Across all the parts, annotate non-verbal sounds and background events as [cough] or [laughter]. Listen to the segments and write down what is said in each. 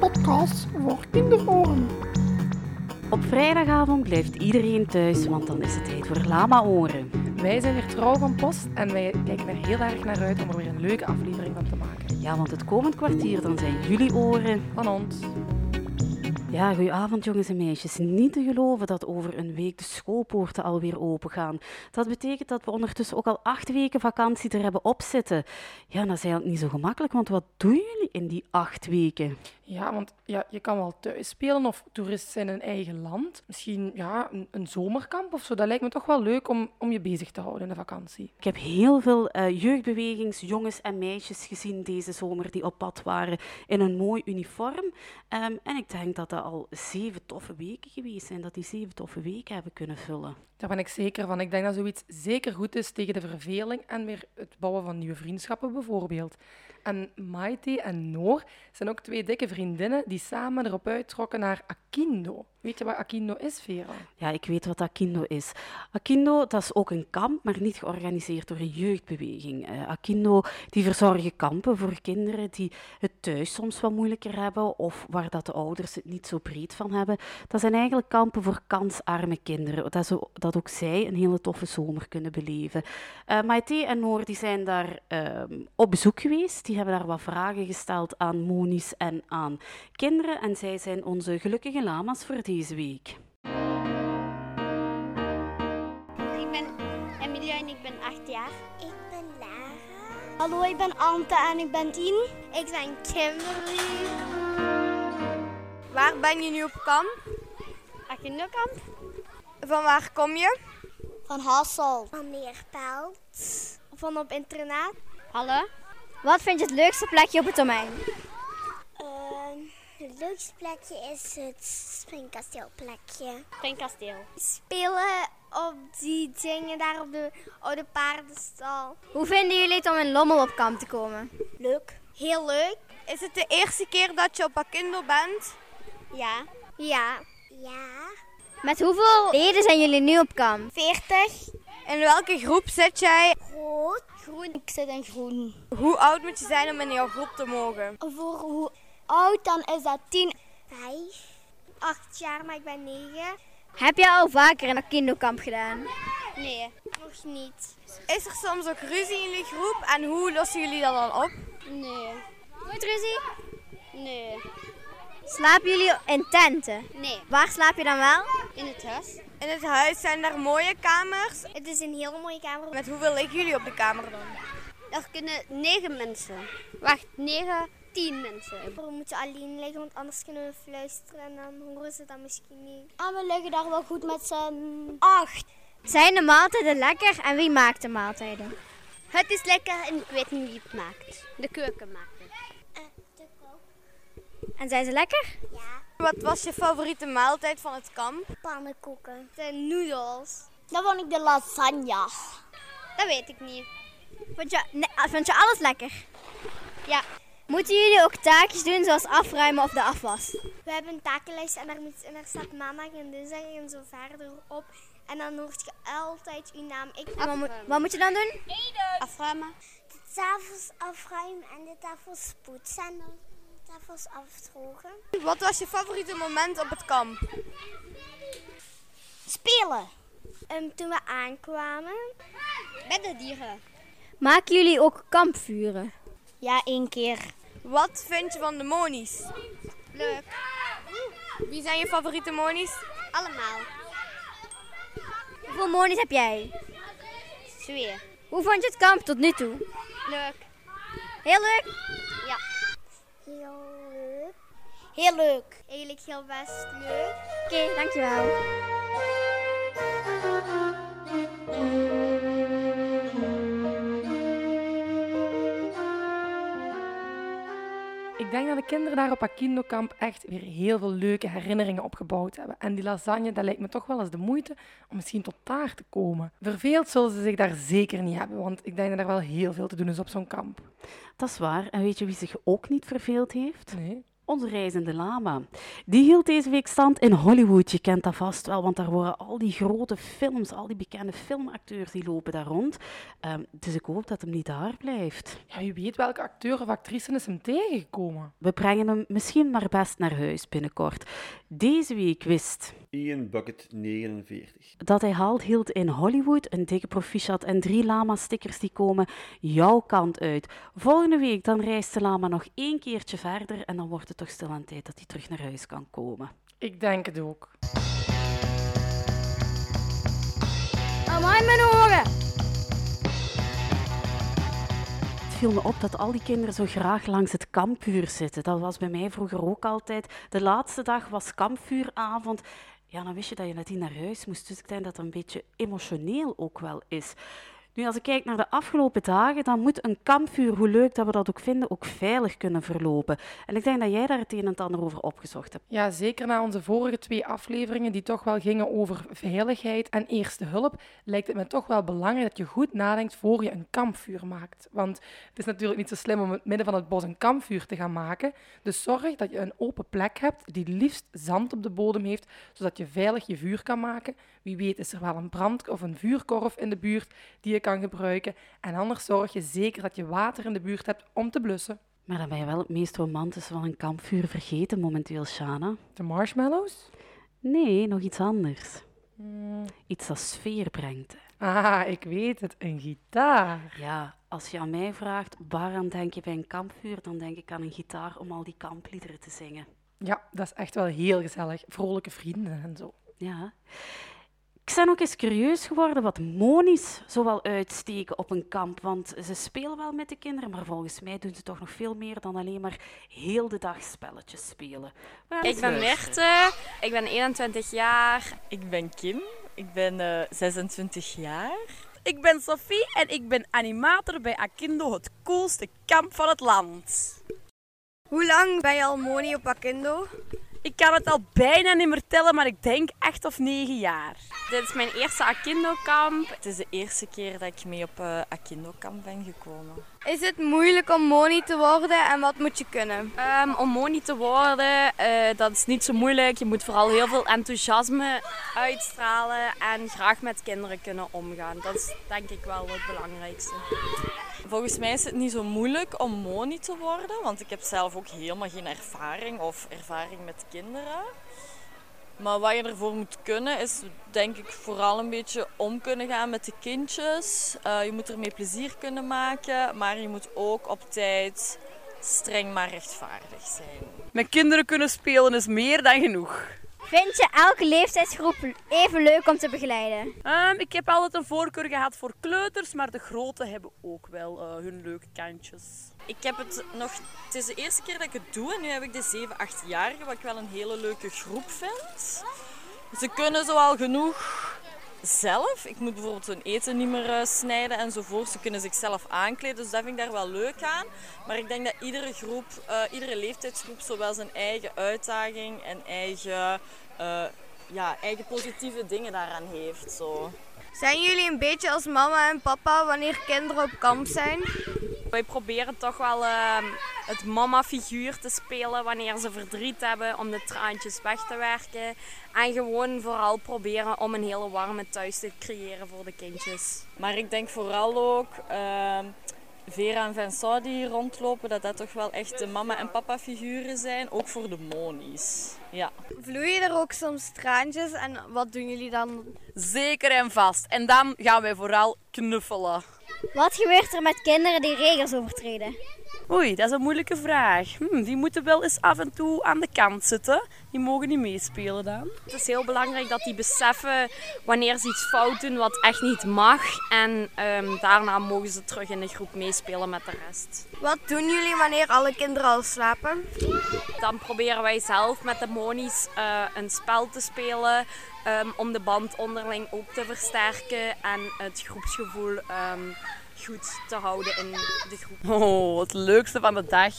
podcast voor kinderoren. Op vrijdagavond blijft iedereen thuis, want dan is het tijd voor Lama Oren. Wij zijn weer trouw van post en wij kijken er heel erg naar uit om er weer een leuke aflevering van te maken. Ja, want het komend kwartier dan zijn jullie oren. Van ons. Ja, goedenavond jongens en meisjes. Niet te geloven dat over een week de schoolpoorten alweer open gaan. Dat betekent dat we ondertussen ook al acht weken vakantie er hebben opzitten. Ja, en dat is eigenlijk niet zo gemakkelijk, want wat doen jullie in die acht weken? Ja, want ja, je kan wel thuis spelen of toerist zijn in eigen land. Misschien ja, een, een zomerkamp of zo. Dat lijkt me toch wel leuk om, om je bezig te houden in de vakantie. Ik heb heel veel eh jeugdbewegings, jongens en meisjes gezien deze zomer die op pad waren in een mooi uniform. Ehm, en ik denk dat dat al zeven toffe weken geweest zijn, dat die zeven toffe weken hebben kunnen vullen. Daar ben ik zeker van. Ik denk dat zoiets zeker goed is tegen de verveling en weer het bouwen van nieuwe vriendschappen bijvoorbeeld. En Maite en Noor zijn ook twee dikke vriendinnen die samen erop uittrokken naar Akindo. Weet je wat Akindo is, Vera? Ja, ik weet wat Akindo is. Akindo, dat is ook een kamp, maar niet georganiseerd door een jeugdbeweging. Eh, Akindo, die verzorgen kampen voor kinderen die het thuis soms wat moeilijker hebben of waar dat de ouders het niet zo breed van hebben. Dat zijn eigenlijk kampen voor kansarme kinderen, dat, zo, dat ook zij een hele toffe zomer kunnen beleven. Eh Maite en Noor die zijn daar ehm, op bezoek geweest. Die hebben daar wat vragen gesteld aan Monies en aan kinderen. En zij zijn onze gelukkige lama's voor deze week. Ik ben Emilia en ik ben 8 jaar. Ik ben Lara. Hallo, ik ben Ante en ik ben 10. Ik ben Kimberly. Waar ben je nu op kamp? Akindokamp. Van waar kom je? Van Hassel. Van Meerpelt. Van op internaat. Hallo. Wat vind je het leukste plekje op het domein? Ehm, het leukste plekje is het springkasteelplekje. Springkasteel. Spelen op die dingen daar op de oude paardenstal. Hoe vinden jullie het om in Lommel op kamp te komen? Leuk. Heel leuk. Is het de eerste keer dat je op Akindo bent? Ja. Ja. Ja. Met hoeveel leden zijn jullie nu op kamp? 40. In welke groep zit jij? Rood. Groen. Ik zit in groen. Hoe oud moet je zijn om in jouw groep te mogen? Voor hoe oud dan is dat 10? 5. 8 jaar, maar ik ben 9. Heb jij al vaker een Akindokamp gedaan? Nee. Nog niet. Is er soms ook ruzie in jullie groep en hoe lossen jullie dat dan op? Nee. Nooit ruzie? Nee. Slapen jullie in tenten? Nee. Waar slaap je dan wel? In het huis. In het huis zijn er mooie kamers. Het is een heel mooie kamer. Met hoeveel liggen jullie op de kamer dan? Er kunnen negen mensen. Wacht, negen, tien mensen. We moeten alleen liggen, want anders kunnen we fluisteren en dan horen ze dat misschien niet. En Ah, we liggen daar wel goed met z'n acht. Zijn de maaltijden lekker en wie maakt de maaltijden? Het is lekker en ik weet niet wie het maakt. De keuken maakt het. de kook. En zijn ze lekker? Ja. Wat was je favoriete maaltijd van het kamp? Pannenkoeken. De noedels. Dan vond ik de lasagne. Dat weet ik niet. Vond je, nee, vond je alles lekker? Ja. Moeten jullie ook taakjes doen zoals afruimen of de afwas? We hebben een takenlijst en daar, moet- en daar staat maandag en dinsdag en zo verder op. En dan hoort je altijd uw naam. Ik En wat, moet, wat moet je dan doen? afruimen? De tafels afruimen en de tafels poetsen en dan de tafels afdrogen. Wat was je favoriete moment op het kamp? Spelen! Ehm, toen we aankwamen. Met de dieren. Maken jullie ook kampvuren? Ja, één keer. Wat vind je van de monies? Leuk. Wie zijn je favoriete monies? Allemaal. Hoeveel monies heb jij? Twee. Hoe vond je het kamp tot nu toe? Leuk. Heel leuk. Heel leuk. Heel leuk. Eigenlijk heel best leuk. Oké, dankjewel. Ik denk dat de kinderen daar op Akindo-kamp echt weer heel veel leuke herinneringen opgebouwd hebben. En die lasagne, dat lijkt me toch wel eens de moeite om misschien tot taart te komen. Verveeld zullen ze zich daar zeker niet hebben, want ik denk dat er wel heel veel te doen is op zo'n kamp. Dat is waar. En weet je wie zich ook niet verveeld heeft? Nee. onze reizende lama. Die hield deze week stand in Hollywood. Je kent dat vast wel, want daar worden al die grote films, al die bekende filmacteurs, die lopen daar rond. Ehm, dus ik hoop dat hem niet daar blijft. Ja, je weet welke acteur of actrice is hem tegengekomen. We brengen hem misschien maar best naar huis binnenkort. Deze week wist Ian Bucket 49. dat hij haalt hield in Hollywood, een dikke proficiat en drie lama-stickers die komen jouw kant uit. Volgende week dan reist de lama nog één keertje verder en dan wordt het toch stilaan tijd dat hij terug naar huis kan komen. Ik denk het ook. Amai, mijn oren. Het viel me op dat al die kinderen zo graag langs het kampvuur zitten. Dat was bij mij vroeger ook altijd. De laatste dag was kampvuuravond. Ja, dan wist je dat je nadien naar huis moest. Dus ik denk dat dat een beetje emotioneel ook wel is. Nu, als ik kijk naar de afgelopen dagen, dan moet een kampvuur, hoe leuk dat we dat ook vinden, ook veilig kunnen verlopen. En ik denk dat jij daar het een en het ander over opgezocht hebt. Ja, zeker na onze vorige twee afleveringen, die toch wel gingen over veiligheid en eerste hulp, lijkt het me toch wel belangrijk dat je goed nadenkt voor je een kampvuur maakt. Want het is natuurlijk niet zo slim om in het midden van het bos een kampvuur te gaan maken. Dus zorg dat je een open plek hebt die liefst zand op de bodem heeft, zodat je veilig je vuur kan maken. Wie weet is er wel een brand of een vuurkorf in de buurt die je kan gebruiken. En anders zorg je zeker dat je water in de buurt hebt om te blussen. Maar dan ben je wel het meest romantische van een kampvuur vergeten momenteel, Shana. De marshmallows? Nee, nog iets anders. Iets dat sfeer brengt. Ah, ik weet het, een gitaar. Ja, als je aan mij vraagt waaraan denk je bij een kampvuur, dan denk ik aan een gitaar om al die kampliederen te zingen. Ja, dat is echt wel heel gezellig. Vrolijke vrienden en zo. Ja. Ik ben ook eens curieus geworden wat monies zoal uitsteken op een kamp. Want ze spelen wel met de kinderen, maar volgens mij doen ze toch nog veel meer dan alleen maar heel de dag spelletjes spelen. We gaan Ik eens ben luisteren. Merte, ik ben 21 jaar. Ik ben Kim, ik ben eh, 26 jaar. Ik ben Sophie en ik ben animator bij Akindo, het coolste kamp van het land. Hoe lang ben je al Moni op Akindo? Ik kan het al bijna niet meer tellen, maar ik denk 8 of 9 jaar. Dit is mijn eerste Akindo-kamp. Het is de eerste keer dat ik mee op eh Akindo-kamp ben gekomen. Is het moeilijk om Moni te worden en wat moet je kunnen? Ehm, om Moni te worden, eh, dat is niet zo moeilijk. Je moet vooral heel veel enthousiasme uitstralen en graag met kinderen kunnen omgaan. Dat is denk ik wel het belangrijkste. Volgens mij is het niet zo moeilijk om Moni te worden, want ik heb zelf ook helemaal geen ervaring of ervaring met kinderen. Maar wat je ervoor moet kunnen is denk ik vooral een beetje om kunnen gaan met de kindjes. Eh, je moet ermee plezier kunnen maken, maar je moet ook op tijd streng maar rechtvaardig zijn. Met kinderen kunnen spelen is meer dan genoeg. Vind je elke leeftijdsgroep even leuk om te begeleiden? Ehm, ik heb altijd een voorkeur gehad voor kleuters, maar de grote hebben ook wel eh, hun leuke kantjes. Ik heb het nog, het is de eerste keer dat ik het doe en nu heb ik de 7, 8-jarigen, wat ik wel een hele leuke groep vind. Ze kunnen zoal genoeg zelf. Ik moet bijvoorbeeld hun eten niet meer eh, snijden enzovoort. Ze kunnen zichzelf aankleden, dus dat vind ik daar wel leuk aan. Maar ik denk dat iedere groep, eh, iedere leeftijdsgroep, zowel zijn eigen uitdaging en eigen, eh, ja, eigen positieve dingen daaraan heeft. Zo. Zijn jullie een beetje als mama en papa wanneer kinderen op kamp zijn? Wij proberen toch wel ehm, het mama-figuur te spelen wanneer ze verdriet hebben, om de traantjes weg te werken. En gewoon vooral proberen om een hele warme thuis te creëren voor de kindjes. Maar ik denk vooral ook ehm, Vera en Vincent die hier rondlopen, dat dat toch wel echt de mama- en papa-figuren zijn, ook voor de monies. Ja. Vloeien er ook soms traantjes en wat doen jullie dan? Zeker en vast. En dan gaan wij vooral knuffelen. Wat gebeurt er met kinderen die regels overtreden? Oei, dat is een moeilijke vraag. Hm, die moeten wel eens af en toe aan de kant zitten. Die mogen niet meespelen dan. Het is heel belangrijk dat die beseffen wanneer ze iets fout doen wat echt niet mag. En ehm, daarna mogen ze terug in de groep meespelen met de rest. Wat doen jullie wanneer alle kinderen al slapen? Dan proberen wij zelf met de monies eh, een spel te spelen ehm, om de band onderling ook te versterken en het groepsgevoel ehm, goed te houden in de groep. Oh, het leukste van de dag.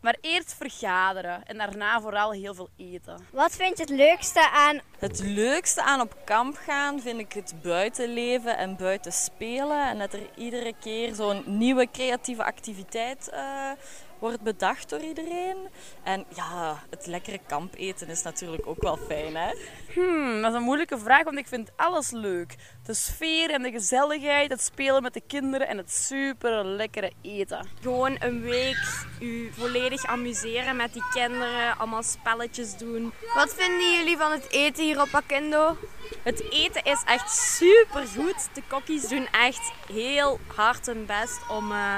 Maar eerst vergaderen en daarna vooral heel veel eten. Wat vind je het leukste aan... Het leukste aan op kamp gaan vind ik het buitenleven en buiten spelen. En dat er iedere keer zo'n nieuwe creatieve activiteit eh, wordt bedacht door iedereen. En ja, het lekkere kampeten is natuurlijk ook wel fijn, hè? Hmm, dat is een moeilijke vraag, want ik vind alles leuk. De sfeer en de gezelligheid, het spelen met de kinderen en het super lekkere eten. Gewoon een week u volledig amuseren met die kinderen, allemaal spelletjes doen. Wat vinden jullie van het eten hier op Akendo? Het eten is echt super goed. De kokkies doen echt heel hard hun best om eh,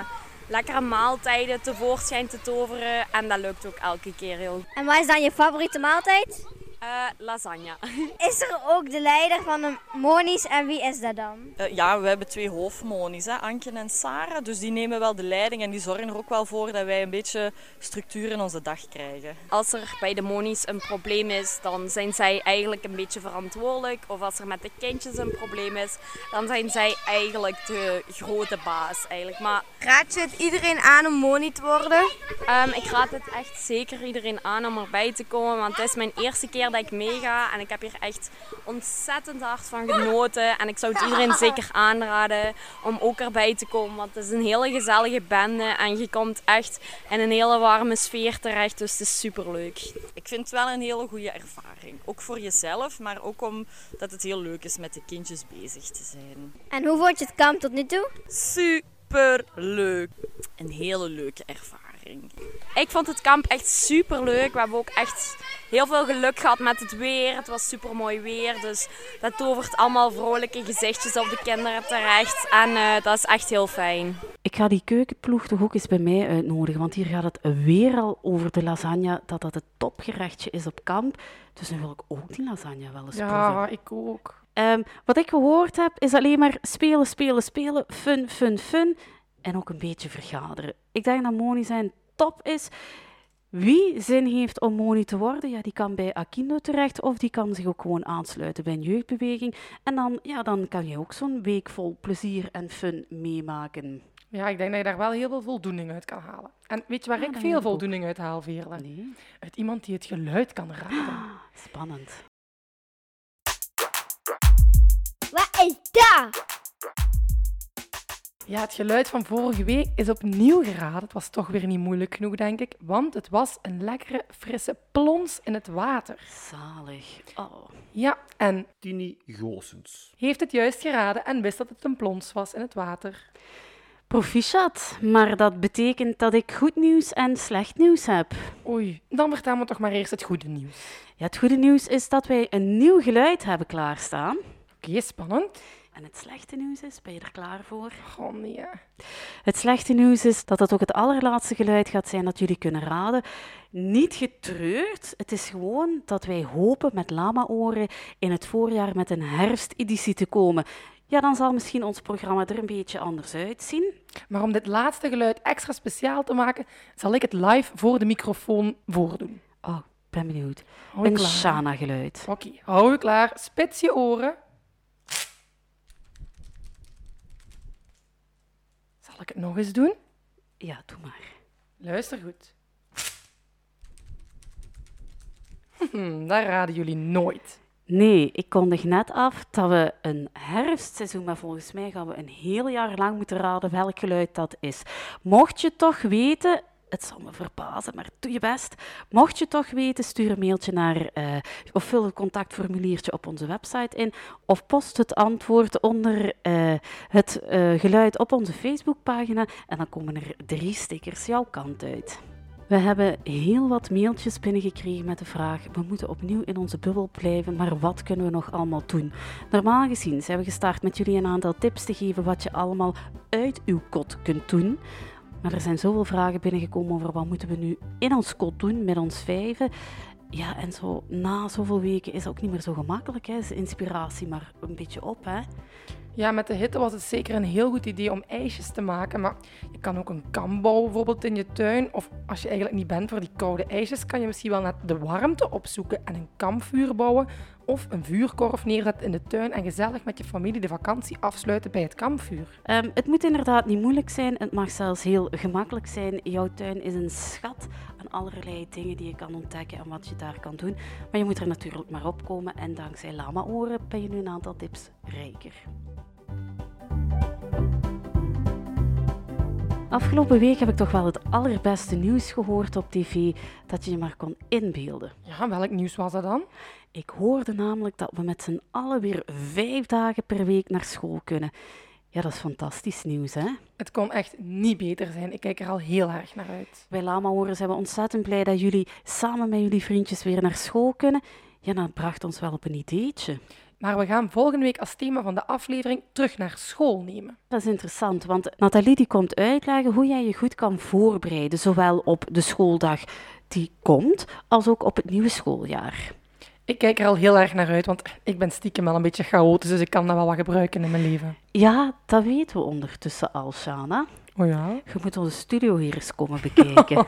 lekkere maaltijden tevoorschijn te toveren. En dat lukt ook elke keer heel goed. En wat is dan je favoriete maaltijd? Eh, lasagne. Is er ook de leider van de Monies en wie is dat dan? Eh, ja, we hebben twee hoofdmonies, hè, Anke en Sarah. Dus die nemen wel de leiding en die zorgen er ook wel voor dat wij een beetje structuur in onze dag krijgen. Als er bij de monies een probleem is, dan zijn zij eigenlijk een beetje verantwoordelijk. Of als er met de kindjes een probleem is, dan zijn zij eigenlijk de grote baas. Eigenlijk. Maar Raad je het iedereen aan om moni te worden? Ehm, ik raad het echt zeker iedereen aan om erbij te komen, want het is mijn eerste keer dat ik meega en ik heb hier echt ontzettend hard van genoten. En ik zou het iedereen zeker aanraden om ook erbij te komen, want het is een hele gezellige bende en je komt echt in een hele warme sfeer terecht, dus het is superleuk. Ik vind het wel een hele goede ervaring. Ook voor jezelf, maar ook omdat het heel leuk is met de kindjes bezig te zijn. En hoe vond je het kamp tot nu toe? Super leuk. Een hele leuke ervaring. Ik vond het kamp echt super leuk. We hebben ook echt heel veel geluk gehad met het weer. Het was super mooi weer. Dus dat tovert allemaal vrolijke gezichtjes op de kinderen terecht. En eh, dat is echt heel fijn. Ik ga die keukenploeg toch ook eens bij mij uitnodigen, want hier gaat het weer al over de lasagne, dat dat het topgerechtje is op kamp. Dus nu wil ik ook die lasagne wel eens proeven. Ja, ik ook. Ehm, wat ik gehoord heb, is alleen maar spelen, spelen, spelen, fun, fun, fun. En ook een beetje vergaderen. Ik denk dat Moni zijn top is. Wie zin heeft om Moni te worden, ja, die kan bij Akindo terecht of die kan zich ook gewoon aansluiten bij een jeugdbeweging. En dan, ja, dan kan je ook zo'n week vol plezier en fun meemaken. Ja, ik denk dat je daar wel heel veel voldoening uit kan halen. En weet je waar Ja, ik dat denk veel ik ook. voldoening uit haal, Veerle? Nee, Uit iemand die het geluid kan raden. spannend. Wat is dat? Ja, het geluid van vorige week is opnieuw geraden. Het was toch weer niet moeilijk genoeg, denk ik. Want het was een lekkere, frisse plons in het water. Zalig. Oh. Ja, en Tini Goosens. heeft het juist geraden en wist dat het een plons was in het water. Proficiat, maar dat betekent dat ik goed nieuws en slecht nieuws heb. Oei, dan vertel me toch maar eerst het goede nieuws. Ja, het goede nieuws is dat wij een nieuw geluid hebben klaarstaan. Oké, spannend. En het slechte nieuws is, ben je er klaar voor? Oh nee. hè. Het slechte nieuws is dat dat ook het allerlaatste geluid gaat zijn dat jullie kunnen raden. Niet getreurd, het is gewoon dat wij hopen met lama-oren in het voorjaar met een herfsteditie te komen. Ja, dan zal misschien ons programma er een beetje anders uitzien. Maar om dit laatste geluid extra speciaal te maken, zal ik het live voor de microfoon voordoen. Oh, ik ben benieuwd. Hou je Een klaar? Shana-geluid. Oké, hou je klaar. Spits je oren. Zal ik het nog eens doen? Ja, doe maar. Luister goed. [laughs] Hm, dat raden jullie nooit. Nee, ik kondig net af dat we een herfstseizoen, maar volgens mij gaan we een heel jaar lang moeten raden welk geluid dat is. Mocht je toch weten, het zal me verbazen, maar doe je best. Mocht je toch weten, stuur een mailtje naar eh, of vul het contactformuliertje op onze website in of post het antwoord onder eh, het eh, geluid op onze Facebookpagina en dan komen er drie stickers jouw kant uit. We hebben heel wat mailtjes binnengekregen met de vraag: we moeten opnieuw in onze bubbel blijven, maar wat kunnen we nog allemaal doen? Normaal gezien zijn we gestart met jullie een aantal tips te geven wat je allemaal uit uw kot kunt doen. Maar er zijn zoveel vragen binnengekomen over wat moeten we nu in ons kot doen met ons vijven. Ja, en zo na zoveel weken is het ook niet meer zo gemakkelijk, hè? Is de inspiratie maar een beetje op, hè? Ja, met de hitte was het zeker een heel goed idee om ijsjes te maken, maar je kan ook een kam bouwen bijvoorbeeld in je tuin. Of als je eigenlijk niet bent voor die koude ijsjes, kan je misschien wel net de warmte opzoeken en een kampvuur bouwen Of een vuurkorf neerzetten in de tuin en gezellig met je familie de vakantie afsluiten bij het kampvuur. Ehm, het moet inderdaad niet moeilijk zijn. Het mag zelfs heel gemakkelijk zijn. Jouw tuin is een schat aan allerlei dingen die je kan ontdekken en wat je daar kan doen. Maar je moet er natuurlijk maar op komen. En dankzij Lama Oren ben je nu een aantal tips rijker. Afgelopen week heb ik toch wel het allerbeste nieuws gehoord op tv dat je je maar kon inbeelden. Ja, welk nieuws was dat dan? Ik hoorde namelijk dat we met z'n allen weer vijf dagen per week naar school kunnen. Ja, dat is fantastisch nieuws, hè? Het kon echt niet beter zijn. Ik kijk er al heel erg naar uit. Wij Lama-horens zijn we ontzettend blij dat jullie samen met jullie vriendjes weer naar school kunnen. Ja, dat bracht ons wel op een ideetje. Maar we gaan volgende week als thema van de aflevering terug naar school nemen. Dat is interessant, want Nathalie die komt uitleggen hoe jij je goed kan voorbereiden, zowel op de schooldag die komt, als ook op het nieuwe schooljaar. Ik kijk er al heel erg naar uit, want ik ben stiekem wel een beetje chaotisch, dus ik kan dat wel wat gebruiken in mijn leven. Ja, dat weten we ondertussen al, Shana. Oh ja? Je moet onze studio hier eens komen bekijken.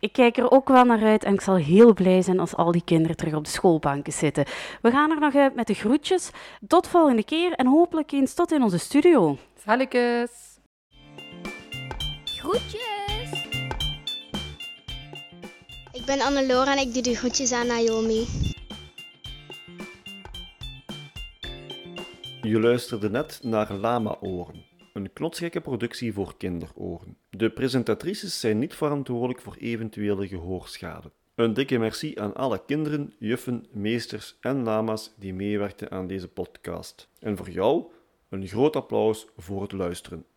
ik kijk er ook wel naar uit en ik zal heel blij zijn als al die kinderen terug op de schoolbanken zitten. We gaan er nog uit met de groetjes. Tot volgende keer en hopelijk eens tot in onze studio. Salukes! Groetjes! Ik ben Annelore en ik doe de groetjes aan Naomi. Je luisterde net naar Lama Oren, een knotsgekke productie voor kinderoren. De presentatrices zijn niet verantwoordelijk voor eventuele gehoorschade. Een dikke merci aan alle kinderen, juffen, meesters en lama's die meewerkten aan deze podcast. En voor jou een groot applaus voor het luisteren.